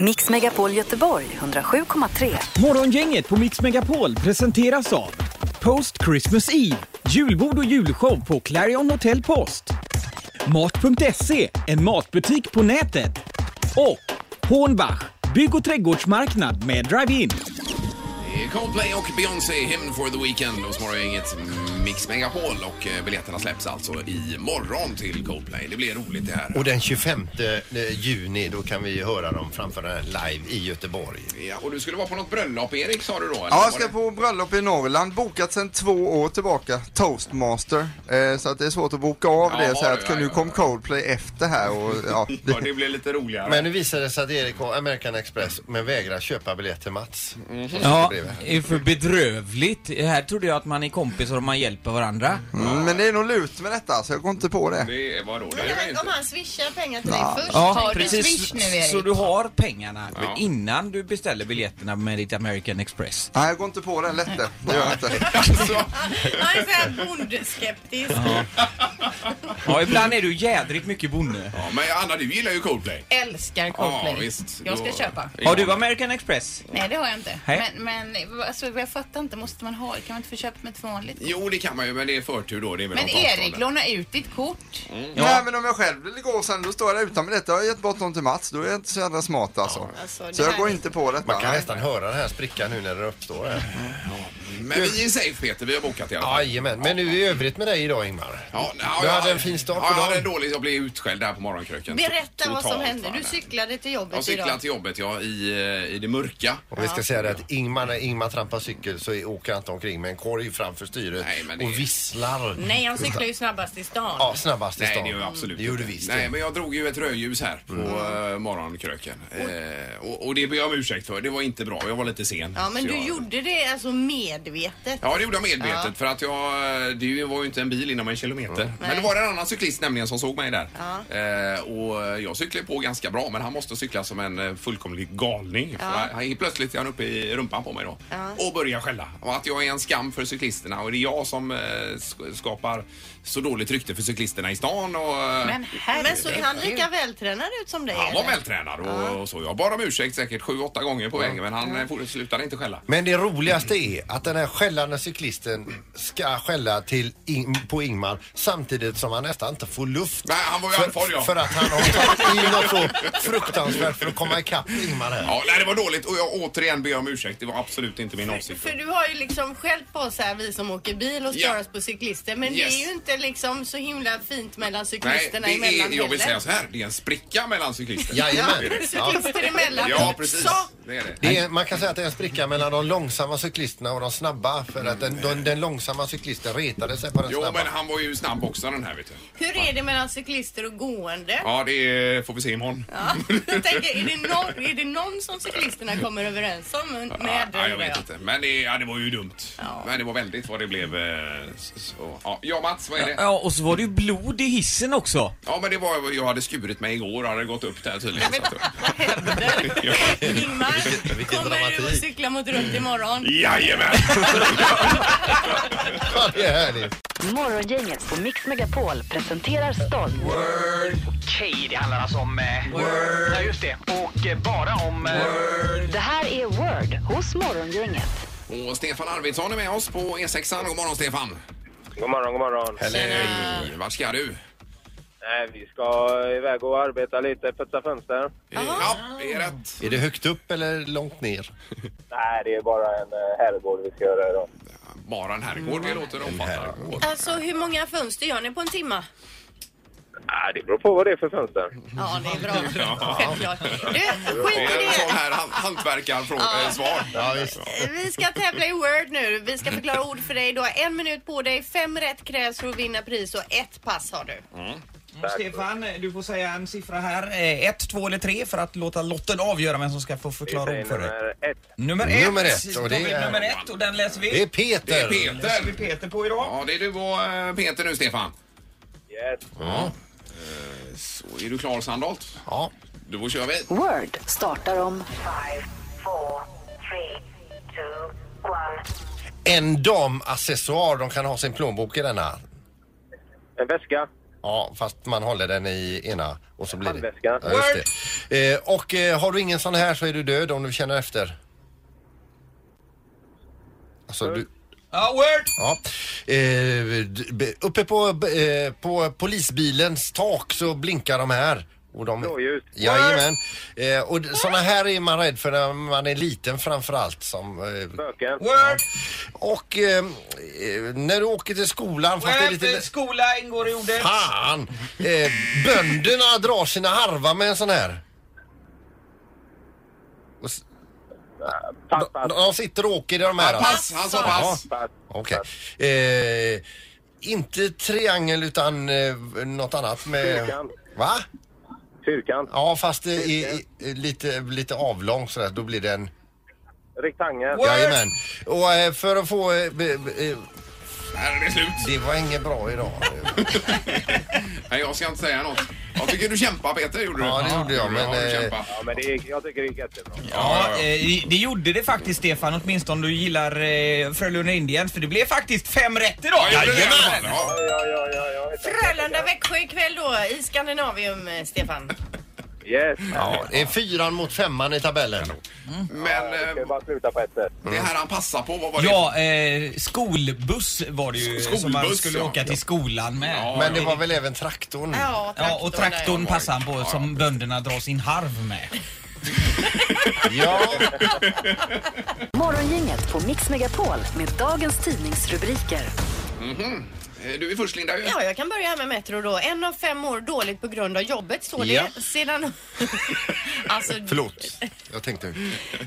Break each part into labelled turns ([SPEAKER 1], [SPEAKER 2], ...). [SPEAKER 1] Mix Megapol Göteborg 107,3.
[SPEAKER 2] Morgongänget på Mix Megapol presenteras av Post Christmas Eve, julbord och julshow på Clarion Hotel Post. Mat.se, en matbutik på nätet. Och Hornbach, bygg och trädgårdsmarknad med drive-in.
[SPEAKER 3] Det är Eh, Coldplay och Beyoncé, Hymn for the Weekend hos Morgongänget Mix Megapol och eh, biljetterna släpps alltså imorgon till Coldplay. Det blir roligt det här.
[SPEAKER 4] Och den 25 juni då kan vi höra dem framföra den live i Göteborg.
[SPEAKER 3] Ja, och du skulle vara på något bröllop Erik sa du då? eller
[SPEAKER 5] Ja,
[SPEAKER 3] var
[SPEAKER 5] jag ska
[SPEAKER 3] det-
[SPEAKER 5] på bröllop i Norrland, bokat sedan två år tillbaka, toastmaster. Eh, så att det är svårt att boka av
[SPEAKER 3] Jaha,
[SPEAKER 5] det. Så
[SPEAKER 3] ja,
[SPEAKER 5] att,
[SPEAKER 3] ja,
[SPEAKER 5] nu
[SPEAKER 3] ja.
[SPEAKER 5] kom Coldplay efter här och ja,
[SPEAKER 3] Ja, det blir lite roligare.
[SPEAKER 4] Men nu visar det sig att Erik har American Express men vägrar köpa biljett till Mats.
[SPEAKER 3] Mm,
[SPEAKER 6] Ja,
[SPEAKER 4] bredvid.
[SPEAKER 6] det är för bedrövligt. Här trodde jag att man är kompisar och man hjälper varandra.
[SPEAKER 5] mm, men det är nog lut med detta så jag går inte på det.
[SPEAKER 3] Det var roligt. Det var
[SPEAKER 7] Tänk om
[SPEAKER 3] inte.
[SPEAKER 7] han swishar pengar till dig först. har du swish nu Erik?
[SPEAKER 6] Så du har pengarna
[SPEAKER 3] Ja.
[SPEAKER 6] innan du beställer biljetterna med ditt American Express.
[SPEAKER 5] Nej, jag går inte på den lätte. Det gör jag inte.
[SPEAKER 3] Alltså,
[SPEAKER 7] Han är såhär bondskeptisk.
[SPEAKER 6] Ja, ibland är du jädrigt mycket bonde.
[SPEAKER 3] ja, men Anna, du gillar ju Coldplay.
[SPEAKER 7] Älskar Coldplay.
[SPEAKER 3] Ja, visst.
[SPEAKER 7] Jag ska
[SPEAKER 3] Då-
[SPEAKER 7] köpa.
[SPEAKER 6] Har du American Express?
[SPEAKER 7] Nej, det har jag inte.
[SPEAKER 6] Nej.
[SPEAKER 7] Men, men alltså, jag fattar inte. Måste man ha? Kan man inte få köpa med ett vanligt kort?
[SPEAKER 3] Jo, det kan man ju, men det är förtur då. Det är väl
[SPEAKER 7] Men
[SPEAKER 3] något avstånd
[SPEAKER 7] Erik,
[SPEAKER 3] där.
[SPEAKER 7] låna ut ditt kort.
[SPEAKER 5] Nej, men om jag själv vill gå sen, då står jag där utan biljett. Jag har gett bort dem till Mats. Då är jag inte så jävla smart alltså.
[SPEAKER 7] Alltså, det
[SPEAKER 5] Så jag
[SPEAKER 7] här
[SPEAKER 5] går
[SPEAKER 7] är-
[SPEAKER 5] inte på detta.
[SPEAKER 4] Man kan
[SPEAKER 5] Nej.
[SPEAKER 4] nästan höra den här sprickan nu när den uppstår. här.
[SPEAKER 3] Men vi är safe Peter, vi har bokat i alla fall.
[SPEAKER 4] Jajamän, men nu i övrigt med dig idag Ingmar.
[SPEAKER 3] Ja, ja,
[SPEAKER 4] Du
[SPEAKER 3] ja,
[SPEAKER 4] hade en fin start på
[SPEAKER 3] ja, jag hade en
[SPEAKER 4] dagen.
[SPEAKER 3] dålig, jag blev utskälld här på morgonkröken.
[SPEAKER 7] Berätta vad som
[SPEAKER 3] Totalt,
[SPEAKER 7] hände.
[SPEAKER 3] fan.
[SPEAKER 7] Du cyklade till
[SPEAKER 3] Jag
[SPEAKER 7] jobbet
[SPEAKER 3] cyklade
[SPEAKER 7] idag.
[SPEAKER 3] till jobbet, ja, i, eh, i det mörka.
[SPEAKER 4] Och vi ska säga det att Ingmar, när Ingmar trampar cykel så är- åker han inte omkring med en korg framför styret
[SPEAKER 3] Nej, men det-
[SPEAKER 4] och visslar.
[SPEAKER 7] Nej, han cyklar ju snabbast i stan.
[SPEAKER 4] Ja, snabbast i
[SPEAKER 3] Nej,
[SPEAKER 4] stan.
[SPEAKER 3] det gjorde absolut
[SPEAKER 4] Det gjorde
[SPEAKER 3] inte.
[SPEAKER 4] visst
[SPEAKER 3] Nej,
[SPEAKER 4] det.
[SPEAKER 3] men jag drog ju ett rödljus här på eh, morgonkröken. Eh, och, och det ber jag om ursäkt för. Det var inte bra. Jag var lite sen.
[SPEAKER 7] Ja, men
[SPEAKER 3] Så
[SPEAKER 7] du
[SPEAKER 3] jag...
[SPEAKER 7] gjorde det alltså medvetet.
[SPEAKER 3] Ja, det gjorde jag medvetet för att jag, eh, det var ju inte en bil inom en kilometer. Men
[SPEAKER 7] Nej.
[SPEAKER 3] det var en annan cyklist nämligen som såg mig där. Eh, och jag cyklade på ganska bra men han måste cykla som en eh, fullkomlig galning. För han- Han, plötsligt är han uppe i rumpan på mig då och börjar skälla. Och att jag är en skam för cyklisterna och det är jag som eh, sk- skapar så dåligt rykte för cyklisterna i stan och... eh,
[SPEAKER 7] Men herregud. Men såg han lika vältränad ut som dig?
[SPEAKER 3] Han var
[SPEAKER 7] eller?
[SPEAKER 3] vältränad och, och så. Jag bad om ursäkt säkert sju, åtta gånger på vägen men han ja. slutade inte skälla.
[SPEAKER 4] Men det roligaste är att den här skällande cyklisten ska skälla till Ing- på Ingmar samtidigt som han nästan inte får luft.
[SPEAKER 3] Nej, han var ju andfådd, ja.
[SPEAKER 4] för, för att han har tagit i något så fruktansvärt för att komma ikapp Ingmar här.
[SPEAKER 3] Ja, nej, det var dåligt och jag återigen ber om ursäkt. Det var absolut inte min avsikt.
[SPEAKER 7] För du har ju liksom skällt på oss här, vi som åker bil och stör
[SPEAKER 3] Ja.
[SPEAKER 7] oss på cyklister. Men
[SPEAKER 3] Yes.
[SPEAKER 7] det är ju inte liksom så himla fint mellan
[SPEAKER 3] Nej, det
[SPEAKER 7] cyklisterna emellan
[SPEAKER 3] är, jag vill säga
[SPEAKER 7] heller.
[SPEAKER 3] så här. Det är en spricka mellan cyklister.
[SPEAKER 4] Jajamän. Ja.
[SPEAKER 7] Cyklister emellan
[SPEAKER 3] Ja, precis.
[SPEAKER 7] också.
[SPEAKER 3] Det är det.
[SPEAKER 4] Det är, man kan säga att det är en spricka mellan de långsamma cyklisterna och de snabba. För att den, den, den långsamma cyklisten retade sig på den
[SPEAKER 3] Jo,
[SPEAKER 4] snabba.
[SPEAKER 3] men han var ju snabb också den här vet du.
[SPEAKER 7] Hur är det mellan cyklister och gående?
[SPEAKER 3] Ja, det eh, får vi se imorgon.
[SPEAKER 7] Ja. Jag tänker, är, det någon, är det någon som cyklisterna kommer överens om med?
[SPEAKER 3] ja, jag
[SPEAKER 7] undrar
[SPEAKER 3] vet
[SPEAKER 7] jag?
[SPEAKER 3] inte. Men det, ja, det var ju dumt.
[SPEAKER 7] Ja.
[SPEAKER 3] Men det var väldigt vad det blev. eh, Så, ja. ja, Mats, vad är det?
[SPEAKER 6] Ja, och så var det ju blod i hissen också.
[SPEAKER 3] Ja, men det var, jag hade skurit mig igår och hade gått upp där tydligen. så att-
[SPEAKER 7] Ingmar, kommer du att
[SPEAKER 4] dramatik.
[SPEAKER 7] cykla mot runt imorgon?
[SPEAKER 3] Jajamän!
[SPEAKER 4] Ja, det är härligt.
[SPEAKER 1] Morgongänget på Mix Megapol presenterar stolt.
[SPEAKER 8] Okej, det handlar alltså om... Eh, Word. Ja, just det. Och eh, bara om... Eh,
[SPEAKER 1] Det här är Word hos Morgongänget.
[SPEAKER 3] Och Stefan Arvidsson är med oss på E6an. God morgon Stefan!
[SPEAKER 9] God morgon, god morgon.
[SPEAKER 3] Hej! Vart ska du?
[SPEAKER 9] Nej, vi ska iväg och arbeta lite, putsa fönster.
[SPEAKER 3] Eh, Ja, det är rätt.
[SPEAKER 4] Är det högt upp eller långt ner?
[SPEAKER 9] Nej, det är bara en eh, herrgård vi ska göra idag.
[SPEAKER 3] Bara en herrgård, det låter omfattande.
[SPEAKER 7] Alltså hur många fönster gör ni på en timma?
[SPEAKER 9] Nej, det beror på vad det är för fönster.
[SPEAKER 6] Mm,
[SPEAKER 7] Ja, det är bra. Självklart. Du, skit
[SPEAKER 3] Det
[SPEAKER 7] i
[SPEAKER 3] är en
[SPEAKER 7] det.
[SPEAKER 3] sån här han- eh, hantverkarfråga-svar.
[SPEAKER 4] Ja, visst.
[SPEAKER 7] Vi ska tävla i Word nu. Vi ska förklara ord för dig. Du har en minut på dig. Fem rätt krävs för att vinna pris och ett pass har du.
[SPEAKER 6] Stefan, du får säga en siffra här. Eh, Ett, två eller tre för att låta lotten avgöra vem som ska få förklara ord för dig.
[SPEAKER 9] nummer ett.
[SPEAKER 6] Nummer ett.
[SPEAKER 4] Nummer ett, och det
[SPEAKER 6] David,
[SPEAKER 4] är-
[SPEAKER 6] nummer ett och den läser vi.
[SPEAKER 4] Det är Peter.
[SPEAKER 3] Det är
[SPEAKER 6] läser vi
[SPEAKER 3] Peter.
[SPEAKER 6] Peter på idag.
[SPEAKER 3] Ja, det är du och eh, Peter nu, Stefan.
[SPEAKER 9] Yes.
[SPEAKER 8] Mm.
[SPEAKER 3] Så är du klar, Sandholt?
[SPEAKER 4] Ja.
[SPEAKER 3] Då kör vi.
[SPEAKER 1] Word startar om
[SPEAKER 4] En damaccessoar. De kan ha sin plånbok i denna.
[SPEAKER 9] En väska.
[SPEAKER 4] Ja, fast man håller den i ena och så blir det...
[SPEAKER 9] Handväskan.
[SPEAKER 4] Ja, just det. Eh, och eh, har du ingen sån här så är du död om du känner efter. Alltså, du...
[SPEAKER 6] Ja, word!
[SPEAKER 4] Ja. Eh, d- be- uppe på, b- eh, på polisbilens tak så blinkar de här. Och de...
[SPEAKER 9] Blåljus.
[SPEAKER 4] Jajamän. Eh, och d- såna här är man rädd för när man är liten framförallt. Som, eh,
[SPEAKER 9] Spöken.
[SPEAKER 6] Word!
[SPEAKER 4] och eh, eh, när du åker till skolan fast det är
[SPEAKER 6] Word!
[SPEAKER 4] lite...
[SPEAKER 6] Skola ingår i ordet.
[SPEAKER 4] Fan! Eh, bönderna drar sina harvar med en sån här. Och s-
[SPEAKER 9] Pass,
[SPEAKER 4] de,
[SPEAKER 9] pass,
[SPEAKER 4] de sitter och åker i de här.
[SPEAKER 3] Pass, han sa pass.
[SPEAKER 9] pass.
[SPEAKER 4] Okej. Eh, inte triangel utan eh, något annat med...
[SPEAKER 9] Fyrkant.
[SPEAKER 4] Va?
[SPEAKER 9] Fyrkant.
[SPEAKER 4] Ja, fast det är, är lite, lite avlång sådär. Då blir det en...
[SPEAKER 9] Rektangel.
[SPEAKER 6] Word!
[SPEAKER 4] Jajamän. Och eh, för att få... Eh, be- be- eh,
[SPEAKER 3] Här är det slut.
[SPEAKER 4] det var inget bra idag.
[SPEAKER 3] Nej, jag ska inte säga något. Jag tycker du kämpar Peter, gjorde du?
[SPEAKER 4] Ja, det gjorde jag, men,
[SPEAKER 3] Ja, du
[SPEAKER 4] eh,
[SPEAKER 3] kämpar.
[SPEAKER 9] Ja, men det är, jag tycker det är jättebra.
[SPEAKER 6] Ja, eh, det gjorde det faktiskt Stefan, åtminstone om du gillar eh, Frölunda Indians för det blev faktiskt fem rätt idag.
[SPEAKER 3] Ja, jag gjorde det i alla fall. Ja.
[SPEAKER 9] Ja, ja, ja, ja.
[SPEAKER 7] Frölunda, Växjö ikväll då i Skandinavium, eh, Stefan.
[SPEAKER 9] Yes.
[SPEAKER 4] Ja, det är fyran mot femman i tabellen.
[SPEAKER 3] Men
[SPEAKER 9] Jag ska
[SPEAKER 3] eh,
[SPEAKER 9] bara sluta på ett sätt.
[SPEAKER 3] det här han passar på, vad var det?
[SPEAKER 6] Ja, eh, skolbuss var det ju som man
[SPEAKER 3] Skolbuss,
[SPEAKER 6] skulle
[SPEAKER 3] ja.
[SPEAKER 6] åka till skolan med.
[SPEAKER 3] Ja,
[SPEAKER 4] Men det var väl även traktorn?
[SPEAKER 7] Ja,
[SPEAKER 6] Ja, och traktorn passar han på som bönderna drar sin harv med.
[SPEAKER 4] Ja.
[SPEAKER 1] Morgongänget på Mix Megapol med dagens tidningsrubriker.
[SPEAKER 3] Eh, Du är först Linda ju.
[SPEAKER 7] Ja, jag kan börja här med Metro då. En av fem år dåligt på grund av jobbet, står det.
[SPEAKER 4] Ja.
[SPEAKER 7] Sedan... alltså,
[SPEAKER 4] Förlåt. Jag tänkte...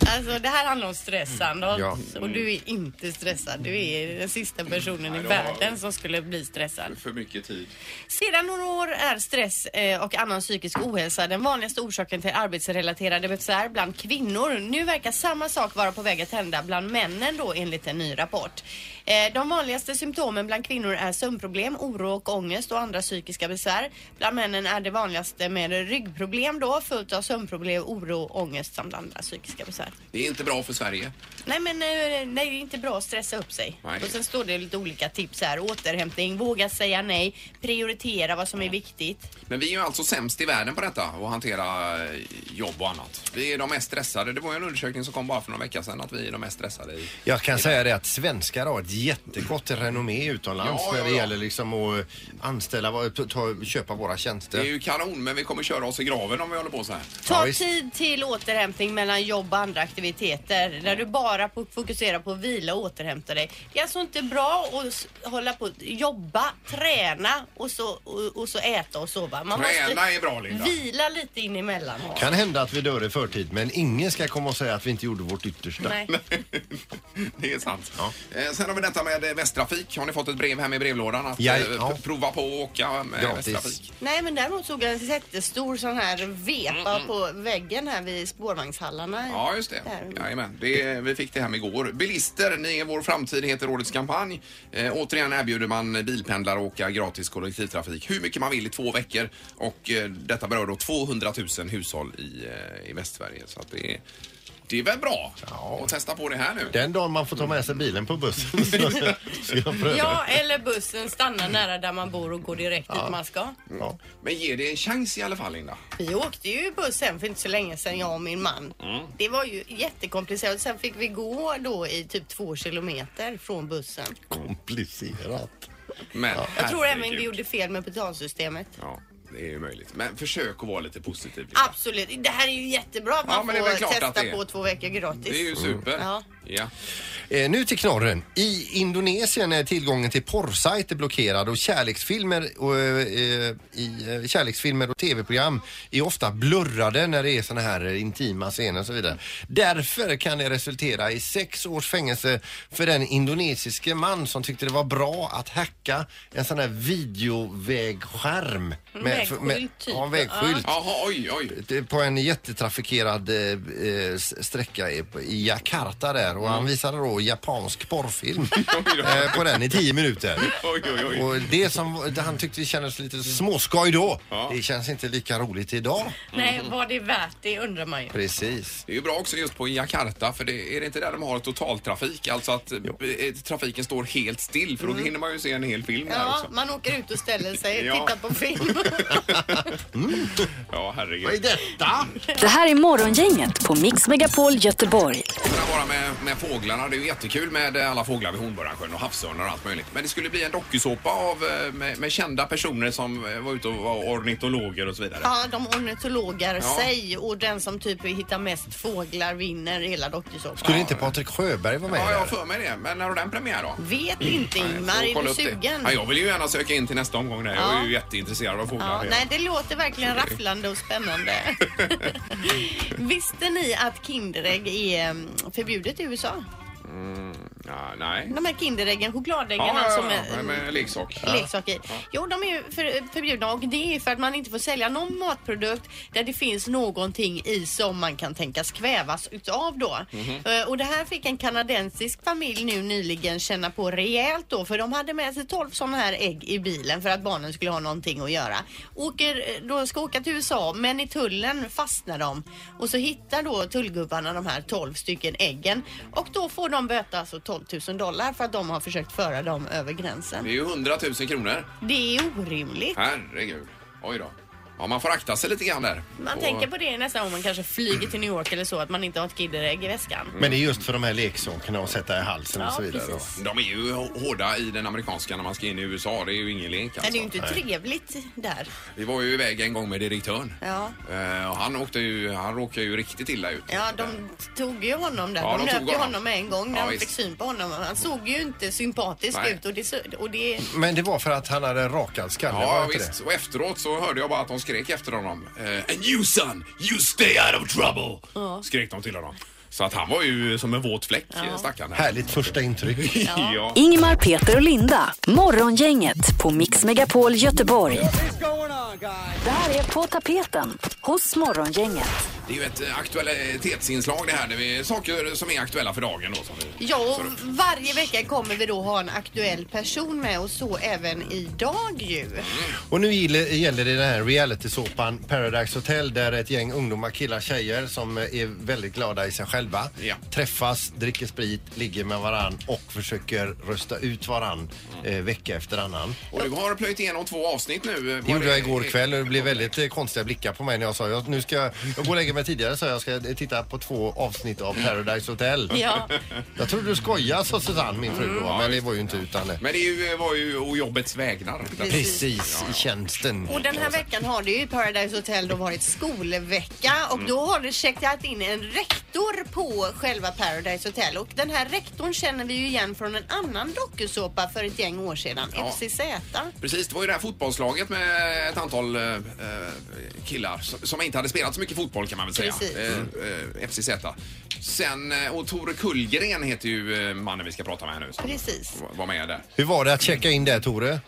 [SPEAKER 7] alltså, det här handlar om stress, Sandholt.
[SPEAKER 4] Ja.
[SPEAKER 7] Och du är inte stressad. Du är den sista personen i världen som skulle bli stressad.
[SPEAKER 3] För mycket tid.
[SPEAKER 7] Sedan några år är stress eh, och annan psykisk ohälsa den vanligaste orsaken till arbetsrelaterade besvär bland kvinnor. Nu verkar samma sak vara på väg att hända bland männen då enligt en ny rapport. Eh, De vanligaste symptomen bland kvinnor är sömnproblem, oro och ångest och andra psykiska besvär. Bland männen är det vanligaste med ryggproblem då följt av sömnproblem, oro, och ångest samt andra psykiska besvär.
[SPEAKER 3] Det är inte bra för Sverige.
[SPEAKER 7] Nej men eh, nej, det är inte bra att stressa upp sig.
[SPEAKER 3] Nej.
[SPEAKER 7] Och sen står det lite olika tips här. Återhämtning, våga säga nej, prioritera vad som är viktigt.
[SPEAKER 3] Men vi är ju alltså sämst i världen på detta, att hantera eh, jobb och annat. Vi är de mest stressade. Det var ju en undersökning som kom bara för några veckor sedan att vi är de mest stressade i...
[SPEAKER 4] Jag kan säga det att svenskar har ett jättegott renommé utomlands
[SPEAKER 3] Ja,
[SPEAKER 4] när
[SPEAKER 3] ja,
[SPEAKER 4] det
[SPEAKER 3] ja.
[SPEAKER 4] gäller liksom att anställa, va- ta, ta, köpa våra
[SPEAKER 3] Det är
[SPEAKER 4] tjänster.
[SPEAKER 3] ju kanon, men vi kommer köra oss i graven om vi håller på så här.
[SPEAKER 4] Ja,
[SPEAKER 7] Ta
[SPEAKER 4] visst.
[SPEAKER 7] tid till återhämtning mellan jobb och andra aktiviteter där du bara po- fokuserar på att vila och återhämta dig. Det är alltså inte bra att s- hålla på att jobba, träna och så, och, och så äta och sova. Man
[SPEAKER 3] Träna är bra, Linda.
[SPEAKER 7] vila lite in emellan.
[SPEAKER 4] Kan hända att vi dör i förtid men ingen ska komma och säga att vi inte gjorde vårt yttersta.
[SPEAKER 7] Nej.
[SPEAKER 3] Det är sant. Eh, Sen har vi detta med eh, Västtrafik. Har ni fått ett brev hem i brevlådan att
[SPEAKER 4] Ja,
[SPEAKER 3] eh,
[SPEAKER 4] ja.
[SPEAKER 3] p- prova på att åka med
[SPEAKER 4] Gratis.
[SPEAKER 3] Västtrafik?
[SPEAKER 7] Nej men däremot såg jag en jättestor sån här vepa på väggen här vid spårvagnshallarna.
[SPEAKER 3] Mm. Ja, just det.
[SPEAKER 7] Där.
[SPEAKER 3] Jajamän. det. Vi fick det hem igår. Bilister, ni är vår framtid, heter årets kampanj. Eh, återigen erbjuder man bilpendlare att åka gratis kollektivtrafik hur mycket man vill i två veckor. Och eh, detta berör då 200 000 hushåll i, eh, i Västsverige. Så att det, är, det är väl bra att testa på det här nu.
[SPEAKER 4] Den dagen man får ta med sig bilen på bussen så ska jag pröva.
[SPEAKER 7] Ja, eller bussen stannar nära där man bor och går direkt dit man ska.
[SPEAKER 4] Ja.
[SPEAKER 3] Men ge det en chans i alla fall, Linda.
[SPEAKER 7] Vi åkte ju buss sen för inte så länge sedan, jag och min man.
[SPEAKER 3] Mm.
[SPEAKER 7] Det var ju jättekomplicerat. Sen fick vi gå då i typ två kilometer från bussen.
[SPEAKER 4] Komplicerat.
[SPEAKER 3] Men,
[SPEAKER 7] Jag tror även vi
[SPEAKER 3] herregud.
[SPEAKER 7] gjorde fel med betalsystemet.
[SPEAKER 3] Ja, det är ju möjligt. Men försök att vara lite positiv. Linda.
[SPEAKER 7] Absolut. Det här är ju jättebra att
[SPEAKER 3] Ja,
[SPEAKER 7] man
[SPEAKER 3] men det är väl
[SPEAKER 7] får
[SPEAKER 3] klart att
[SPEAKER 7] testa
[SPEAKER 3] det är.
[SPEAKER 7] på två veckor
[SPEAKER 3] Det är
[SPEAKER 7] gratis.
[SPEAKER 3] ju super.
[SPEAKER 7] Ja.
[SPEAKER 3] Ja.
[SPEAKER 4] Eh, nu till knorren. I Indonesien är tillgången till porrsajter blockerad och kärleksfilmer och, eh, eh, i, eh, kärleksfilmer och tv-program är ofta blurrade när det är såna här eh, intima scener och så vidare. Därför kan det resultera i sex års fängelse för den indonesiske man som tyckte det var bra att hacka en sån här videovägskärm.
[SPEAKER 7] Vägskylt typ.
[SPEAKER 4] Ja, en vägskylt.
[SPEAKER 3] Jaha, oj, oj.
[SPEAKER 4] Det är på en jättetrafikerad eh, eh, s- sträcka i- i Jakarta där och han visade då då japansk porrfilm
[SPEAKER 3] Mm. Oj då.
[SPEAKER 4] eh, på den i tio minuter.
[SPEAKER 3] Oj, oj, oj.
[SPEAKER 4] Och det som det han tyckte kändes lite småskoj då,
[SPEAKER 3] Ja.
[SPEAKER 4] det känns inte lika roligt idag.
[SPEAKER 3] Mm.
[SPEAKER 7] Nej, var det värt det undrar man ju.
[SPEAKER 4] Precis.
[SPEAKER 3] Det är ju bra också just på Jakarta för det, är det inte där de har totaltrafik? Alltså att eh, trafiken står helt still för då hinner man ju se en hel film där
[SPEAKER 7] Mm. Ja,
[SPEAKER 3] också.
[SPEAKER 7] man åker ut och ställer sig,
[SPEAKER 3] Ja.
[SPEAKER 7] tittar på film.
[SPEAKER 3] Ja, herregud.
[SPEAKER 4] detta?
[SPEAKER 1] Det här är Morgongänget på Mix Megapol Göteborg.
[SPEAKER 3] Bara- Bara med, med fåglarna, det är ju jättekul med alla fåglar vid Hornborgasjön och havsörnar och allt möjligt. Men det skulle bli en dokusåpa av, eh, med, med kända personer som eh, var ute och var ornitologer och så vidare.
[SPEAKER 7] Ja, de ornitologar
[SPEAKER 3] Ja.
[SPEAKER 7] sig och den som typ hittar mest fåglar vinner hela dokusåpan.
[SPEAKER 4] Skulle inte Patrik Sjöberg vara med?
[SPEAKER 3] Ja, jag har
[SPEAKER 4] där?
[SPEAKER 3] för mig det. Men när har den premiär då?
[SPEAKER 7] Vet inte Ingmar,
[SPEAKER 3] Mm. Jag får
[SPEAKER 7] är
[SPEAKER 3] kolla
[SPEAKER 7] du
[SPEAKER 3] upp det.
[SPEAKER 7] sugen?
[SPEAKER 3] Ja, jag vill ju gärna söka in till nästa omgång där. Jag är ju jätteintresserad av
[SPEAKER 7] Ja,
[SPEAKER 3] fåglar.
[SPEAKER 7] nej, det låter verkligen rafflande och spännande. Visste ni att Kinderägg är mm, förbjudet i USA?
[SPEAKER 3] Ja, nej.
[SPEAKER 7] De här Kinderäggen, chokladäggen
[SPEAKER 3] Ja,
[SPEAKER 7] alltså
[SPEAKER 3] ja,
[SPEAKER 7] med,
[SPEAKER 3] ja,
[SPEAKER 7] mm,
[SPEAKER 3] med leksak.
[SPEAKER 7] leksak i. Jo, de är ju för, förbjudna och det är för att man inte får sälja någon matprodukt där det finns någonting i som man kan tänkas kvävas utav då. Eh, Och det här fick en kanadensisk familj nu nyligen känna på rejält då för de hade med sig 12 sådana här ägg i bilen för att barnen skulle ha någonting att göra. Åker, eh, de ska åka till USA men i tullen fastnar de och så hittar då tullgubbarna de här 12 stycken äggen och då får de böta alltså 12 000 dollar för att de har försökt föra dem över gränsen.
[SPEAKER 3] Det är ju 100 000 kronor.
[SPEAKER 7] Det är orimligt.
[SPEAKER 3] Herregud. Oj då. Ja, man får akta sig lite grann där.
[SPEAKER 7] Man
[SPEAKER 3] Och-
[SPEAKER 7] tänker på det nästan om man kanske flyger till New York eller så, att man inte har ett kinderägg i väskan.
[SPEAKER 3] Mm.
[SPEAKER 4] Men det är just för de här leksakerna att sätta i halsen och
[SPEAKER 7] Ja,
[SPEAKER 4] så vidare.
[SPEAKER 7] precis.
[SPEAKER 3] De är ju hårda i den amerikanska när man ska in i USA. Det är ju ingen lek
[SPEAKER 7] Men
[SPEAKER 3] alltså.
[SPEAKER 7] det är ju inte trevligt där.
[SPEAKER 3] Vi var ju iväg en gång med direktören.
[SPEAKER 7] Ja.
[SPEAKER 3] Eh, och han, åkte ju, han råkade ju riktigt illa ut.
[SPEAKER 7] Ja, de tog ju honom där.
[SPEAKER 3] Ja,
[SPEAKER 7] de
[SPEAKER 3] de tog
[SPEAKER 7] nöp ju
[SPEAKER 3] honom.
[SPEAKER 7] honom med en gång när
[SPEAKER 3] Ja,
[SPEAKER 7] de
[SPEAKER 3] visst.
[SPEAKER 7] fick syn på honom. Han såg ju inte sympatisk
[SPEAKER 3] Nej.
[SPEAKER 7] ut och det, sö- och det...
[SPEAKER 4] Men det var för att han hade rakad skalle, var
[SPEAKER 3] Ja,
[SPEAKER 4] det inte
[SPEAKER 3] visst. Och efteråt så hörde jag bara att de skrek efter honom. Eh, And you son, you stay out of trouble! Skrek de till honom. Så att han var ju som en våt fläck, ja. stackaren.
[SPEAKER 4] det? Härligt första intryck.
[SPEAKER 3] Ja.
[SPEAKER 1] Ingmar, Peter och Linda. Morgongänget på Mix Megapol Göteborg. Det här är På tapeten hos Morgongänget.
[SPEAKER 3] Det är ju ett eh, aktualitetsinslag det här. Det är saker som är aktuella för dagen då. Som vi...
[SPEAKER 7] Ja, och varje vecka kommer vi då ha en aktuell person med och så även idag ju.
[SPEAKER 4] Och nu gäller- gäller det den här realitysåpan Paradise Hotel där ett gäng ungdomar, killar, tjejer som är väldigt glada i sig själva
[SPEAKER 3] Ja.
[SPEAKER 4] träffas, dricker sprit, ligger med varann och försöker rösta ut varann eh, vecka efter annan.
[SPEAKER 3] Mm. Och du har plöjt igenom två avsnitt nu. eh,
[SPEAKER 4] Det
[SPEAKER 3] var
[SPEAKER 4] gjorde jag igår kväll och det blev väldigt eh, konstiga blickar på mig när jag sa jag, nu ska jag, jag går och lägger mig tidigare så jag ska eh, titta på två avsnitt av Paradise Hotel.
[SPEAKER 7] Ja,
[SPEAKER 4] Jag trodde du skojade sa Susanne, min fru
[SPEAKER 3] Mm.
[SPEAKER 4] då, men det var ju inte utan det.
[SPEAKER 3] Men det är ju, eh, var ju å jobbets vägnar.
[SPEAKER 4] Precis, i tjänsten.
[SPEAKER 7] Och den här
[SPEAKER 3] Alltså.
[SPEAKER 7] veckan har det ju i Paradise Hotel då varit skolvecka och
[SPEAKER 3] Mm.
[SPEAKER 7] då har det checkat in en rektor på själva Paradise Hotel och den här rektorn känner vi ju igen från en annan dokusåpa för ett gäng år sedan,
[SPEAKER 3] Ja.
[SPEAKER 7] FCZ.
[SPEAKER 3] Precis, det var ju det här fotbollslaget med ett antal eh, eh, killar som, som inte hade spelat så mycket fotboll kan man väl säga.
[SPEAKER 7] Precis.
[SPEAKER 3] Eh, eh, FCZ. Sen, eh, och Tore Kullgren heter ju eh, mannen vi ska prata med här nu. Som
[SPEAKER 7] Precis.
[SPEAKER 3] Var med där.
[SPEAKER 4] Hur var det att checka in där Tore?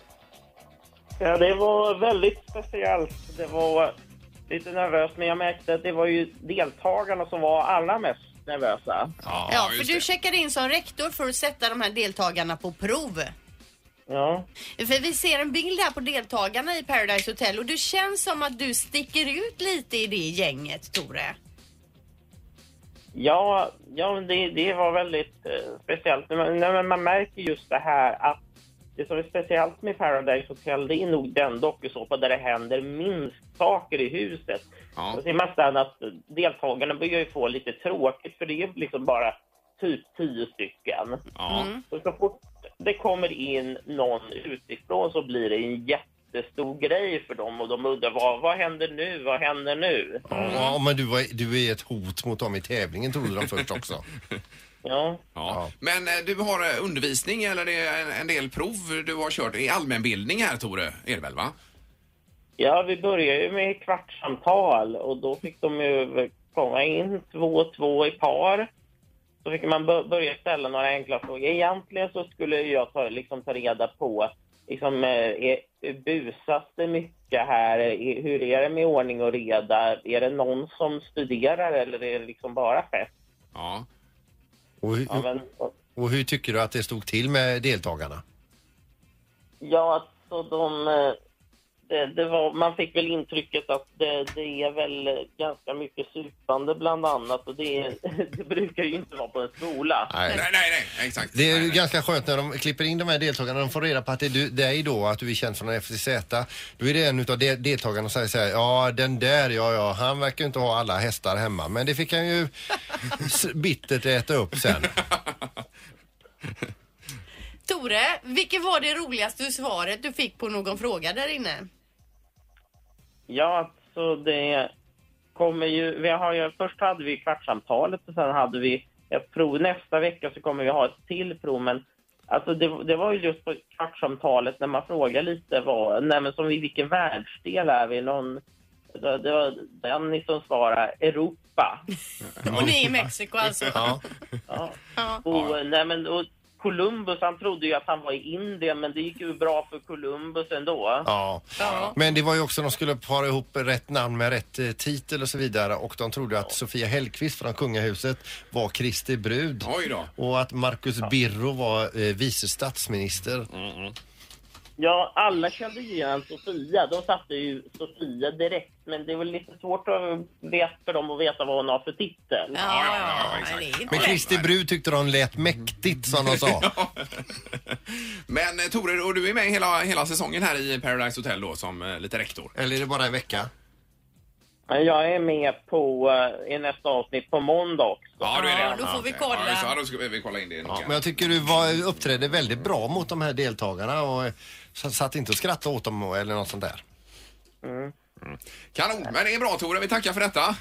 [SPEAKER 9] Ja, det var väldigt speciellt. Det var lite nervöst, men jag märkte att det var ju deltagarna som var allra mest nervösa.
[SPEAKER 3] Ja,
[SPEAKER 7] Ja, för
[SPEAKER 3] just
[SPEAKER 7] du
[SPEAKER 3] det.
[SPEAKER 7] checkade in som rektor för att sätta de här deltagarna på prov.
[SPEAKER 9] Ja.
[SPEAKER 7] För vi ser en bild här på deltagarna i Paradise Hotel och det känns som att du sticker ut lite i det gänget, Tore.
[SPEAKER 9] Ja, ja men det, det var väldigt eh, speciellt. Men, nej, men man märker just det här att det som är speciellt med Paradise Hotel det är nog den dokusåpa där det händer minst saker i huset.
[SPEAKER 3] Ja.
[SPEAKER 9] Då ser man sen att deltagarna börjar ju få lite tråkigt för det är liksom bara typ tio stycken.
[SPEAKER 3] Ja.
[SPEAKER 7] Mm.
[SPEAKER 9] Och så fort det kommer in någon utifrån så blir det en jättestor grej för dem och de undrar vad, vad händer nu, vad händer nu?
[SPEAKER 3] Mm.
[SPEAKER 4] Ja, men du, var, du är ett hot mot dem i tävlingen trodde de först också.
[SPEAKER 9] Ja.
[SPEAKER 3] Ja.
[SPEAKER 4] Ja.
[SPEAKER 3] Men eh, du har eh, undervisning eller det är en, en del prov du har kört i allmänbildning här Tore, är det väl va?
[SPEAKER 9] Ja, vi började ju med kvartssamtal och då fick de ju komma in två och två i par. Så fick man bör- börja ställa några enkla frågor. Egentligen så skulle jag ta, liksom, ta reda på liksom, eh, är, busas det mycket här? Är, hur är det med ordning och reda? Är det någon som studerar eller är det liksom bara fest?
[SPEAKER 3] Ja.
[SPEAKER 4] Och, hur-
[SPEAKER 9] Ja, men, och,
[SPEAKER 4] Och hur tycker du att det stod till med deltagarna?
[SPEAKER 9] Ja, alltså de... eh, Det, det var, man fick väl intrycket att det, det är väl ganska mycket supande bland annat och det, är- det brukar ju inte vara på en skola.
[SPEAKER 3] Nej, nej, nej, exakt.
[SPEAKER 4] Det är
[SPEAKER 3] nej,
[SPEAKER 4] ju
[SPEAKER 3] nej.
[SPEAKER 4] ganska skönt när de klipper in de här deltagarna. De får reda på att det är du- dig då, att du är känd från FTZ. Då är det en utav de- deltagarna som säger så här, ja den där, ja ja, han verkar ju inte ha alla hästar hemma. Men det fick han ju s- bittert äta upp sen.
[SPEAKER 7] Tore, vilket var det roligaste svaret du fick på någon fråga där inne?
[SPEAKER 9] Ja, alltså det kommer ju... Vi har ju först hade vi kvartssamtalet och sen hade vi ett prov. Nästa vecka så kommer vi ha ett till prov, men alltså det, det var ju just på kvartssamtalet när man frågar lite vad... Nej, men som i vilken världsdel är vi? Någon, det, det var Dennis som svarade Europa.
[SPEAKER 7] Och ni är i Mexiko alltså?
[SPEAKER 4] Ja.
[SPEAKER 9] Ja.
[SPEAKER 7] Ja.
[SPEAKER 9] Och, nej, men, och Columbus, han trodde ju att han var i Indien, men det gick ju bra för Columbus ändå.
[SPEAKER 4] Ja.
[SPEAKER 7] Ja.
[SPEAKER 4] Men det var ju också, de skulle para ihop rätt namn med rätt eh, titel och så vidare och de trodde att Sofia Hellqvist från kungahuset var Kristi brud.
[SPEAKER 3] Oj då.
[SPEAKER 4] Och att Marcus Birro var eh, vice statsminister.
[SPEAKER 9] Ja, alla kände ju igen Sofia. De satte ju Sofia direkt, men det är väl lite svårt att veta för dem att veta vad hon har för titel.
[SPEAKER 3] Ja, ja, ja, exakt.
[SPEAKER 7] det är inte
[SPEAKER 4] Men
[SPEAKER 7] lätt.
[SPEAKER 4] Kristi brud tyckte de lät mäktigt som de sa.
[SPEAKER 3] Men eh, Tore, och du är med hela, hela säsongen här i Paradise Hotel då som eh, lite rektor.
[SPEAKER 4] Eller är det bara en vecka?
[SPEAKER 9] Men Jag är med på, eh, i nästa avsnitt på måndag också.
[SPEAKER 3] Ja, du är
[SPEAKER 7] Ja,
[SPEAKER 3] det.
[SPEAKER 7] då får vi
[SPEAKER 3] okej.
[SPEAKER 7] kolla.
[SPEAKER 3] Ja, just det. Ja, då ska vi, vi kolla in det
[SPEAKER 4] Ja,
[SPEAKER 3] noga.
[SPEAKER 4] men jag tycker du var, uppträdde väldigt bra mot de här deltagarna och eh, så- satt inte och skrattade åt dem eller något sånt där.
[SPEAKER 3] Kanon, men det är bra Tore. Vi tackar för detta.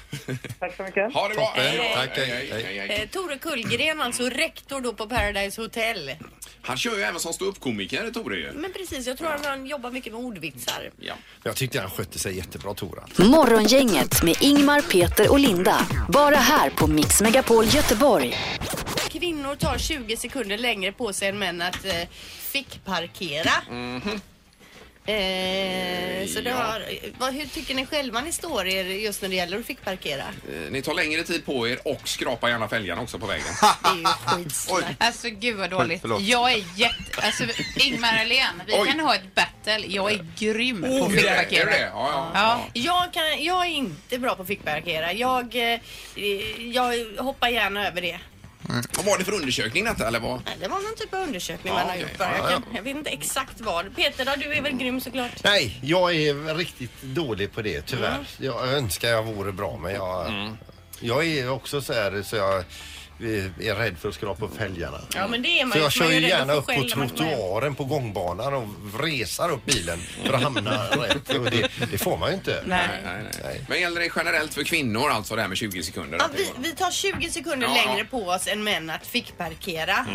[SPEAKER 9] Tack så mycket.
[SPEAKER 3] Ha det bra.
[SPEAKER 4] Toppen.
[SPEAKER 3] Hej då.
[SPEAKER 4] Tack, hej, hej.
[SPEAKER 3] hej.
[SPEAKER 7] Eh, Tore Kullgren, alltså rektor då på Paradise Hotel.
[SPEAKER 3] Han kör ju även som ståuppkomiker, Tore. ju.
[SPEAKER 7] Men precis, jag tror att han jobbar mycket med ordvitsar.
[SPEAKER 3] Ja.
[SPEAKER 4] Jag tyckte han skötte sig jättebra Tora.
[SPEAKER 1] Morgongänget med Ingmar, Peter och Linda. Bara här på Mix Megapol Göteborg.
[SPEAKER 7] Kvinnor tar 20 sekunder längre på sig än män att eh, fick parkera. Eh, så det
[SPEAKER 3] Mhm. Ja.
[SPEAKER 7] har, vad, hur tycker ni själva ni står er just när det gäller att fick parkera?
[SPEAKER 3] Eh, Ni tar längre tid på er och skrapar gärna fälgarna också på vägen.
[SPEAKER 7] Det är ju skitsnack.
[SPEAKER 10] Alltså gud vad dåligt.
[SPEAKER 5] Förlåt.
[SPEAKER 10] Jag är jätte... Alltså Ingmar Ahlén, vi
[SPEAKER 3] Oj.
[SPEAKER 10] kan ha ett battle. Jag är grym på
[SPEAKER 5] Oh,
[SPEAKER 3] Är
[SPEAKER 10] att
[SPEAKER 3] det det? Är det det?
[SPEAKER 10] fickparkera.
[SPEAKER 3] Ja, ja.
[SPEAKER 10] Ja.
[SPEAKER 7] Jag, kan, jag är inte bra på att fickparkera. Jag, eh, jag hoppar gärna över det.
[SPEAKER 3] Vad var det för undersökning detta eller vad?
[SPEAKER 7] Nej, Det var någon typ av undersökning
[SPEAKER 3] Ja,
[SPEAKER 7] man har
[SPEAKER 3] okej.
[SPEAKER 7] gjort. bara.
[SPEAKER 3] Ja,
[SPEAKER 7] Jag, kan, jag vet inte exakt vad. Peter, då, du är väl grym såklart?
[SPEAKER 4] Nej, jag är riktigt dålig på det
[SPEAKER 7] Mm.
[SPEAKER 4] tyvärr. Jag önskar jag vore bra men jag, jag är också så här så jag eh, är rädd för att skrapa upp fälgarna.
[SPEAKER 7] Ja, men det är man
[SPEAKER 4] Så
[SPEAKER 7] ju,
[SPEAKER 4] jag
[SPEAKER 7] för man
[SPEAKER 4] kör
[SPEAKER 7] är
[SPEAKER 4] ju
[SPEAKER 7] rädd att
[SPEAKER 4] gärna
[SPEAKER 7] få
[SPEAKER 4] upp på
[SPEAKER 7] skäll när man kommer hem.
[SPEAKER 4] trottoaren på gångbanan och vresar upp bilen för att hamna rätt. Och det, det får man ju inte.
[SPEAKER 10] Nej.
[SPEAKER 3] Nej, nej. Men gäller det generellt för kvinnor alltså det här med 20 sekunder?
[SPEAKER 7] Ja,
[SPEAKER 3] Att det
[SPEAKER 7] vi,
[SPEAKER 3] går?
[SPEAKER 7] vi tar 20 sekunder
[SPEAKER 3] Ja,
[SPEAKER 7] längre
[SPEAKER 3] ja.
[SPEAKER 7] på oss än män att fickparkera.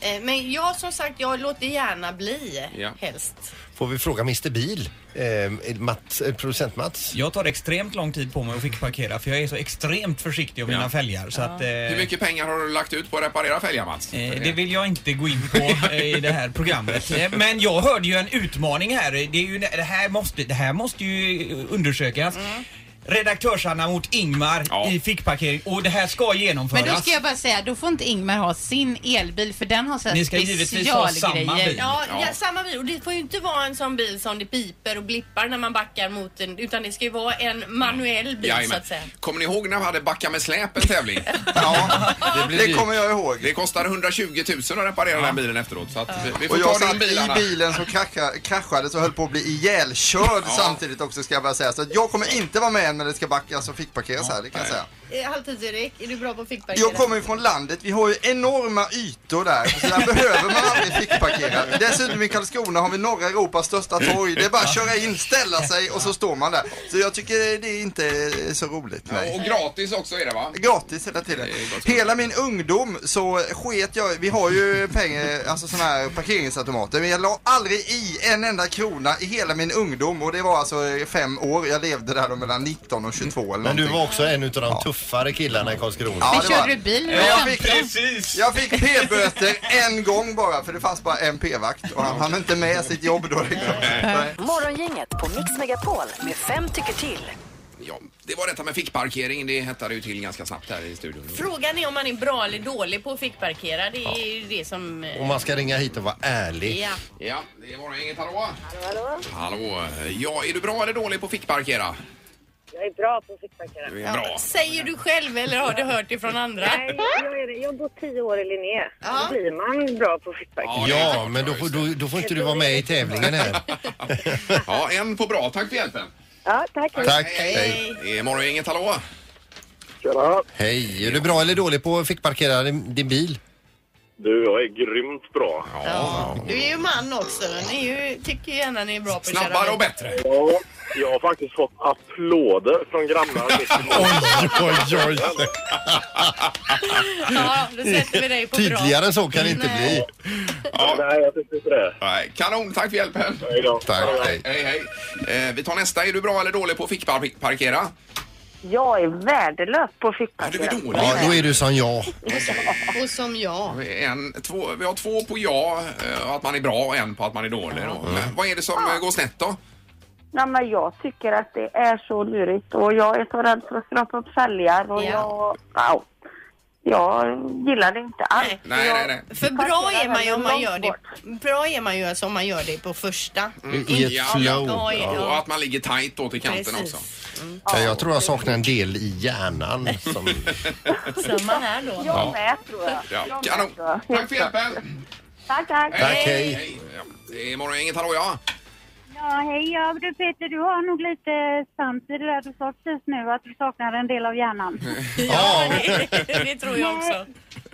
[SPEAKER 7] Eh, Men jag som sagt, jag låter gärna bli
[SPEAKER 3] Ja.
[SPEAKER 7] helst.
[SPEAKER 4] Får vi fråga Mr Bil, eh, Mats, eh, producent Mats?
[SPEAKER 6] Jag tar extremt lång tid på mig att fick parkera för jag är så extremt försiktig av mina
[SPEAKER 3] Ja.
[SPEAKER 6] fälgar så att... eh,
[SPEAKER 3] Hur mycket pengar har du lagt ut på att reparera fälgar Mats?
[SPEAKER 6] Eh, det vill jag inte gå in på eh, i det här programmet. Eh, Men jag hörde ju en utmaning här. Det, är ju, det, här, måste, det här måste ju undersökas.
[SPEAKER 10] Mm.
[SPEAKER 6] Redaktörs-Anna mot Ingmar
[SPEAKER 3] Ja.
[SPEAKER 6] i fickparkering och det här ska genomföras.
[SPEAKER 10] Men då ska jag bara säga, då får inte Ingmar ha sin elbil för den har så här
[SPEAKER 6] Ni ska givetvis ha samma bil.
[SPEAKER 10] Ja.
[SPEAKER 7] Ja,
[SPEAKER 3] Ja.
[SPEAKER 7] ja. samma bil. Och det får ju inte vara en sån bil som det piper och blippar när man backar mot den. Utan det ska ju vara en manuell bil så
[SPEAKER 3] Jajamän.
[SPEAKER 7] att säga.
[SPEAKER 3] Kommer ni ihåg när vi hade Backa med släp en tävling?
[SPEAKER 5] Ja,
[SPEAKER 4] Det blir
[SPEAKER 5] det
[SPEAKER 4] dyrt.
[SPEAKER 5] kommer jag ihåg.
[SPEAKER 3] Det kostar 120 000 att reparera den bilen efteråt. Så att vi, vi får
[SPEAKER 5] Och jag
[SPEAKER 3] ta de
[SPEAKER 5] satt i
[SPEAKER 3] bilarna.
[SPEAKER 5] bilen som kracka- kraschades och höll på att bli ihjälkörd samtidigt också ska jag bara säga. Så att jag kommer inte vara med när det ska backas och fickparkeras här, det kan jag säga.
[SPEAKER 7] Eh, Halvtids-Erik, är du bra på att fickparkera?
[SPEAKER 5] Jag kommer ju från landet, vi har ju enorma ytor där, så där behöver man aldrig fickparkera. Dessutom i Karlskrona har vi norra Europas största torg, det är bara att köra in, ställa sig och så står man där. Så jag tycker det är inte är så roligt. Nej.
[SPEAKER 3] Ja, och gratis också är det va?
[SPEAKER 5] Gratis hela tiden.
[SPEAKER 3] Det är gott.
[SPEAKER 5] Hela min ungdom så sket jag vi har ju pengar, alltså sådana här parkeringsautomater, men jag la aldrig i en enda krona i hela min ungdom och det var alltså eh, fem år, jag levde där då mellan 19 och 22 eller
[SPEAKER 4] Men du
[SPEAKER 5] någonting.
[SPEAKER 4] var också en utav de tuffare killarna i Karlskrona.
[SPEAKER 5] Ja,
[SPEAKER 10] Vi
[SPEAKER 5] det var-
[SPEAKER 10] körde bil med
[SPEAKER 5] Men jag
[SPEAKER 10] femton.
[SPEAKER 5] fick, jag fick p-böter en gång bara, för det fanns bara en p-vakt och han hann inte med sitt jobb då. Liksom. Nej.
[SPEAKER 1] Morgongänget på Mix Megapol med fem tycker till.
[SPEAKER 3] Ja, det var detta med fickparkering. Det hettade ju till ganska snabbt här i studion.
[SPEAKER 7] Frågan är om man är bra eller dålig på att fickparkera. Det är ju det som... eh,
[SPEAKER 4] Om man ska ringa hit och vara ärlig.
[SPEAKER 7] Ja.
[SPEAKER 3] Ja, det var det inget. Hallå? Hallå. Ja, är du bra eller dålig på fickparkera?
[SPEAKER 11] Jag är bra på att fickparkera.
[SPEAKER 3] Du är bra.
[SPEAKER 7] Säger du själv eller har du hört det från andra?
[SPEAKER 11] Nej, jag, är det. jag har gått tio år i Linné.
[SPEAKER 7] Ja.
[SPEAKER 11] Då blir man bra på att fickparkera.
[SPEAKER 3] det är
[SPEAKER 4] Ja,
[SPEAKER 3] klart,
[SPEAKER 4] men då,
[SPEAKER 3] ja,
[SPEAKER 4] får-
[SPEAKER 3] just
[SPEAKER 4] då, då får inte du vara med i tävlingen här.
[SPEAKER 3] det. Ja, en på bra. Tack för hjälpen.
[SPEAKER 11] Ja, tack.
[SPEAKER 4] Tack, hej.
[SPEAKER 3] Det är Morgongänget, hallå?
[SPEAKER 9] Tjena!
[SPEAKER 4] Hej, är du bra eller dålig på att fickparkera din, din bil?
[SPEAKER 9] Du, jag är grymt bra.
[SPEAKER 7] Ja. Du är ju man också. Ni är ju, tycker ju gärna ni är bra på att köra
[SPEAKER 3] Snabbare
[SPEAKER 7] bil.
[SPEAKER 3] och bättre.
[SPEAKER 9] Ja, jag har faktiskt fått applåder från grannar mitt emot.
[SPEAKER 4] Oj, oj, oj.
[SPEAKER 7] Ja, då sätter vi dig på bra.
[SPEAKER 4] Tydligare än så kan det inte bli.
[SPEAKER 9] Nej, jag tyckte inte det.
[SPEAKER 3] Nej, Kanon, tack för hjälpen.
[SPEAKER 9] Hej då.
[SPEAKER 4] Tack, hej.
[SPEAKER 3] Hej, hej. Eh, vi tar nästa. Är du bra eller dålig på att fickparkera?
[SPEAKER 11] Jag är värdelös på att
[SPEAKER 3] Ja, du
[SPEAKER 11] fickparkera.
[SPEAKER 3] är dålig.
[SPEAKER 4] Ja, då är du som jag.
[SPEAKER 7] Och som jag.
[SPEAKER 3] En, två, vi har två på ja, eh, att man är bra och en på att man är dålig. Då. Men
[SPEAKER 4] Mm.
[SPEAKER 3] vad är det som eh, går snett då?
[SPEAKER 11] Nej, men jag tycker att det är så lurigt och jag är så rädd för att skrapa upp fälgar och
[SPEAKER 7] Ja.
[SPEAKER 11] jag... Wow. Jag gillar det inte alls.
[SPEAKER 7] Nej.
[SPEAKER 3] Nej,
[SPEAKER 11] jag,
[SPEAKER 3] nej, nej.
[SPEAKER 7] För bra är man ju om man gör det.
[SPEAKER 11] Långt
[SPEAKER 7] Bra är man ju alltså om man gör det på första.
[SPEAKER 4] I ett flow.
[SPEAKER 7] Ja, ja.
[SPEAKER 3] Och att man ligger tajt då till kanten
[SPEAKER 7] Precis.
[SPEAKER 3] också.
[SPEAKER 4] Ja, jag tror jag saknar en del i hjärnan. Som...
[SPEAKER 7] Som man är då.
[SPEAKER 11] Jag med, tror jag.
[SPEAKER 3] Ja,
[SPEAKER 11] jag med,
[SPEAKER 7] alltså,
[SPEAKER 3] kanon.
[SPEAKER 11] tror jag.
[SPEAKER 3] Tack för hjälpen.
[SPEAKER 11] Tack, tack.
[SPEAKER 4] Tack, hej.
[SPEAKER 3] Hej. Ja, det är Morgongänget, hallå ja.
[SPEAKER 11] Ja, hej. Ja, du Peter, du har nog lite sant i det där du sa precis nu, att du saknar en del av hjärnan.
[SPEAKER 4] Ja,
[SPEAKER 7] Det tror jag också.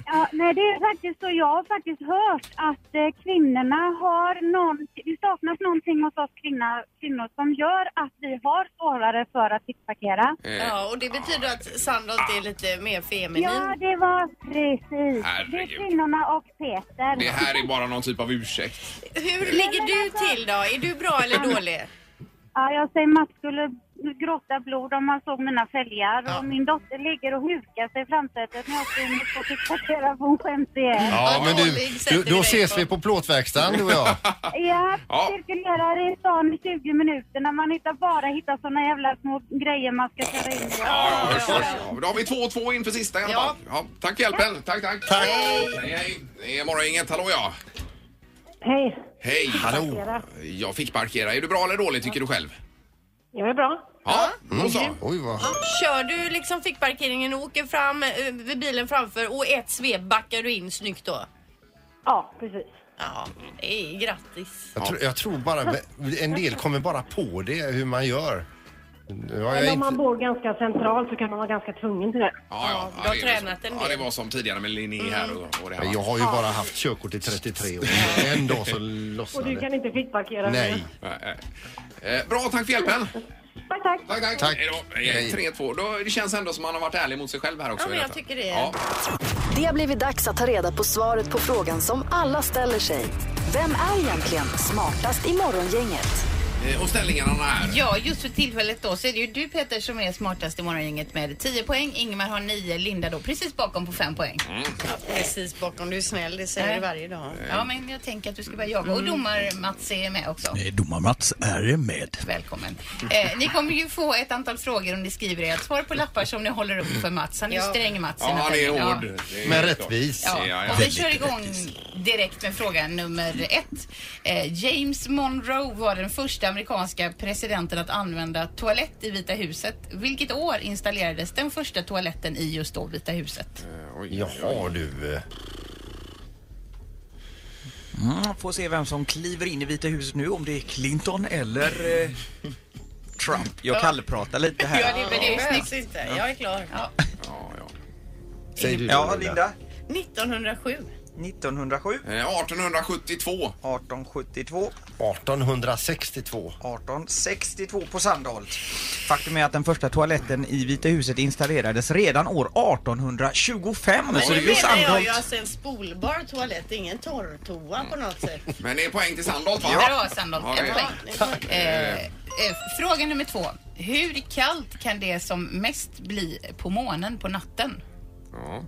[SPEAKER 11] Ja, nej, det är faktiskt så. Jag har faktiskt hört att eh, kvinnorna har någon... Det saknas någonting hos oss kvinnor, kvinnor som gör att vi har svårare för att fickparkera.
[SPEAKER 3] Eh,
[SPEAKER 7] Ja, och det betyder att Sandholt är lite mer feminin.
[SPEAKER 11] Ja, det var precis. Det är
[SPEAKER 3] Herregud.
[SPEAKER 11] kvinnorna och Peter.
[SPEAKER 3] Det här är bara någon typ av ursäkt.
[SPEAKER 7] Hur ligger du
[SPEAKER 11] alltså-
[SPEAKER 7] till då? Är du bra eller dålig?
[SPEAKER 11] Ja, jag säger Mats skulle gråta blod om han såg mina fälgar.
[SPEAKER 7] Ja.
[SPEAKER 11] Och min dotter ligger och hukar sig i framsätet när jag springer och fickparkerar för hon skäms ihjäl.
[SPEAKER 4] ja men du, du, då ses vi på plåtverkstaden du och jag.
[SPEAKER 11] Ja,
[SPEAKER 3] Ja.
[SPEAKER 11] cirkulerar i stan i 20 minuter när man inte bara hittar såna jävla små grejer man ska köra in i.
[SPEAKER 3] Ja, hörs, hörs. Ja, då har vi två och två inför sista i alla
[SPEAKER 7] Ja.
[SPEAKER 3] fall. Ja, tack för hjälpen. Tack, tack. tack. Hej, hej. Det är Morgongänget, hallå ja.
[SPEAKER 11] Hej,
[SPEAKER 3] Hej.
[SPEAKER 4] Hallå.
[SPEAKER 3] Jag fick parkera. Är du bra eller dålig tycker du själv?
[SPEAKER 11] jag är bra.
[SPEAKER 3] Ja, mm, då så.
[SPEAKER 4] Mm. Oj, vad...
[SPEAKER 7] Kör du liksom fick parkeringen och åker fram eh, vid bilen framför och ett svep backar du in snyggt då?
[SPEAKER 11] Ja, precis.
[SPEAKER 7] Ja, ej, grattis.
[SPEAKER 4] jag, tror, jag tror bara, en del kommer bara på det, hur man gör. Nu har jag
[SPEAKER 11] Men om man
[SPEAKER 4] inte...
[SPEAKER 11] bor ganska centralt så kan man vara ganska tvungen till det.
[SPEAKER 3] Ja, ja.
[SPEAKER 7] du har
[SPEAKER 3] det är
[SPEAKER 7] tränat
[SPEAKER 3] det.
[SPEAKER 7] en
[SPEAKER 3] Ja,
[SPEAKER 7] del.
[SPEAKER 3] det var som tidigare med Linné här och, och det här.
[SPEAKER 4] Jag har ju bara haft körkort i 33 år. En dag så
[SPEAKER 11] Och
[SPEAKER 4] lossnade
[SPEAKER 11] du
[SPEAKER 4] det.
[SPEAKER 11] kan inte fickparkera.
[SPEAKER 4] Nej.
[SPEAKER 3] Eh, eh. Eh, Bra, tack för hjälpen.
[SPEAKER 11] Tack, tack.
[SPEAKER 3] Tack, tack.
[SPEAKER 4] Tack.
[SPEAKER 3] Hej då. Eh,
[SPEAKER 4] Hej.
[SPEAKER 3] 3-2. Då- Det känns ändå som man har varit ärlig mot sig själv här också.
[SPEAKER 7] Ja,
[SPEAKER 3] i
[SPEAKER 7] men jag
[SPEAKER 3] detta.
[SPEAKER 7] tycker det.
[SPEAKER 3] Ja.
[SPEAKER 1] Det har blivit dags att ta reda på svaret på frågan som alla ställer sig. Vem är egentligen smartast i Morgongänget?
[SPEAKER 3] Eh, Och ställningarna här.
[SPEAKER 10] Ja, just för tillfället då så är det ju du Peter som är smartast i morgongänget med 10 poäng. Ingmar har 9, Linda då precis bakom på 5 poäng.
[SPEAKER 3] Mm.
[SPEAKER 7] Precis bakom, du är snäll, det säger
[SPEAKER 10] Nej.
[SPEAKER 7] du varje dag. Mm.
[SPEAKER 10] Ja, men jag tänker att du ska börja jaga. Och domar-Mats är med också.
[SPEAKER 2] Domar-Mats är med.
[SPEAKER 10] Välkommen. Eh, ni kommer ju få ett antal frågor om ni skriver ert svar på lappar som ni håller upp för Mats. Han är ju
[SPEAKER 7] Ja.
[SPEAKER 10] sträng Mats. i
[SPEAKER 3] Ja, han är
[SPEAKER 10] naturen. Ja.
[SPEAKER 3] hård. Det är
[SPEAKER 4] Men
[SPEAKER 3] helt klart.
[SPEAKER 4] rättvis.
[SPEAKER 10] Ja,
[SPEAKER 3] Ja, ja.
[SPEAKER 10] och vi kör igång direkt med fråga nummer ett. Eh, James Monroe var den första amerikanska presidenten att använda toalett i Vita huset. Vilket år installerades den första toaletten i just då Vita huset?
[SPEAKER 4] Jaha du. eh,
[SPEAKER 6] Mm, får se vem som kliver in i Vita huset nu, om det är Clinton eller eh, Trump. Jag kallpratar lite
[SPEAKER 7] Ja,
[SPEAKER 6] här.
[SPEAKER 7] det, men det behövs inte. Jag är klar.
[SPEAKER 3] Ja, ja.
[SPEAKER 4] Säger du
[SPEAKER 6] Ja,
[SPEAKER 4] det,
[SPEAKER 6] Linda.
[SPEAKER 7] 1907.
[SPEAKER 6] 1907,
[SPEAKER 3] Eh, 1872.
[SPEAKER 6] 1872,
[SPEAKER 4] 1862.
[SPEAKER 6] 1862 på Sandholt. Faktum är att den första toaletten i Vita huset installerades redan år 1825. så det
[SPEAKER 7] Nu menar
[SPEAKER 6] blir
[SPEAKER 7] jag ju
[SPEAKER 6] Sandholt.
[SPEAKER 7] alltså en spolbar toalett, ingen torrtoa på något sätt.
[SPEAKER 3] Men det är poäng till Sandholt, va?
[SPEAKER 10] Där har Sandholt
[SPEAKER 3] Ja,
[SPEAKER 10] en
[SPEAKER 3] det-
[SPEAKER 10] poäng.
[SPEAKER 7] Tack.
[SPEAKER 10] Eh, eh, fråga nummer två. Hur kallt kan det som mest bli på månen på natten?
[SPEAKER 3] Ja.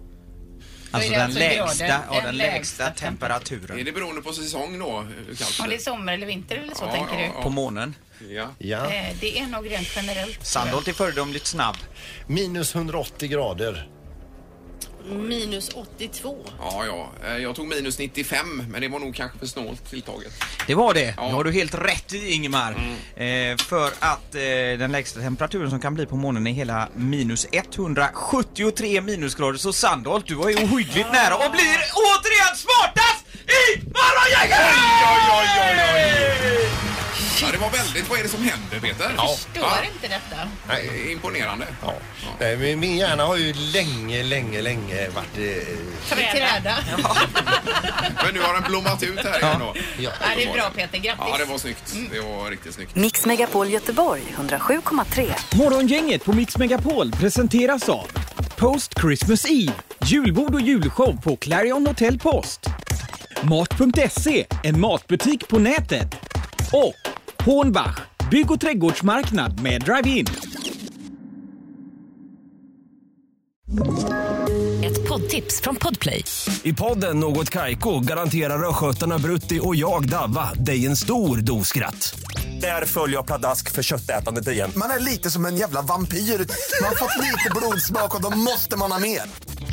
[SPEAKER 10] Alltså
[SPEAKER 6] Alltså
[SPEAKER 10] den
[SPEAKER 6] den
[SPEAKER 10] lägsta-
[SPEAKER 6] lägsta,
[SPEAKER 10] ja,
[SPEAKER 6] ja, den lägsta temperaturen.
[SPEAKER 3] Är det beroende på säsong då? hur kallt
[SPEAKER 10] Om
[SPEAKER 3] det
[SPEAKER 10] det
[SPEAKER 3] är?
[SPEAKER 10] är sommar eller vinter eller så
[SPEAKER 3] Ja,
[SPEAKER 10] tänker
[SPEAKER 3] ja,
[SPEAKER 10] du?
[SPEAKER 3] ja.
[SPEAKER 6] På månen?
[SPEAKER 3] Ja.
[SPEAKER 4] Ja.
[SPEAKER 10] Eh, Det är nog rent generellt.
[SPEAKER 4] Sandholt är föredömligt snabb. Minus 180 grader.
[SPEAKER 7] Minus 82.
[SPEAKER 3] Ja, ja. Eh, Jag tog minus 95, men det var nog kanske för snålt tilltaget.
[SPEAKER 6] Det var det. Det har du helt rätt i Ingemar. Eh, för att eh, den lägsta temperaturen som kan bli på månen är hela minus 173 minusgrader. Så Sandholt, du var ju ohyggligt nära och blir återigen smartast i Morgongänget!
[SPEAKER 3] Ja, det var väldigt... Vad är det som händer, Peter?
[SPEAKER 10] Jag förstår inte detta.
[SPEAKER 3] Nej, imponerande.
[SPEAKER 4] Ja. Nej, men min hjärna har ju länge, länge, länge varit... Eh,
[SPEAKER 10] Träda.
[SPEAKER 3] Men nu har den blommat ut här igen då.
[SPEAKER 4] Ja,
[SPEAKER 10] Ja, det är bra Peter, grattis.
[SPEAKER 3] Ja, det var snyggt. Det var riktigt snyggt.
[SPEAKER 1] Mix Megapol Göteborg 107,3.
[SPEAKER 2] Morgongänget på Mix Megapol presenteras av Post Christmas Eve, julbord och julshow på Clarion Hotel Post. Mat.se, en matbutik på nätet. Och Hornbach, bygg och trädgårdsmarknad med drive-in.
[SPEAKER 12] Ett poddtips från Podplay. I podden Något Kaiko garanterar östgötarna Brutti och jag, Davva, dig en stor dos skratt. Där följer jag pladask för köttätandet igen.
[SPEAKER 13] Man är lite som en jävla vampyr. Man har fått lite blodsmak och då måste man ha mer.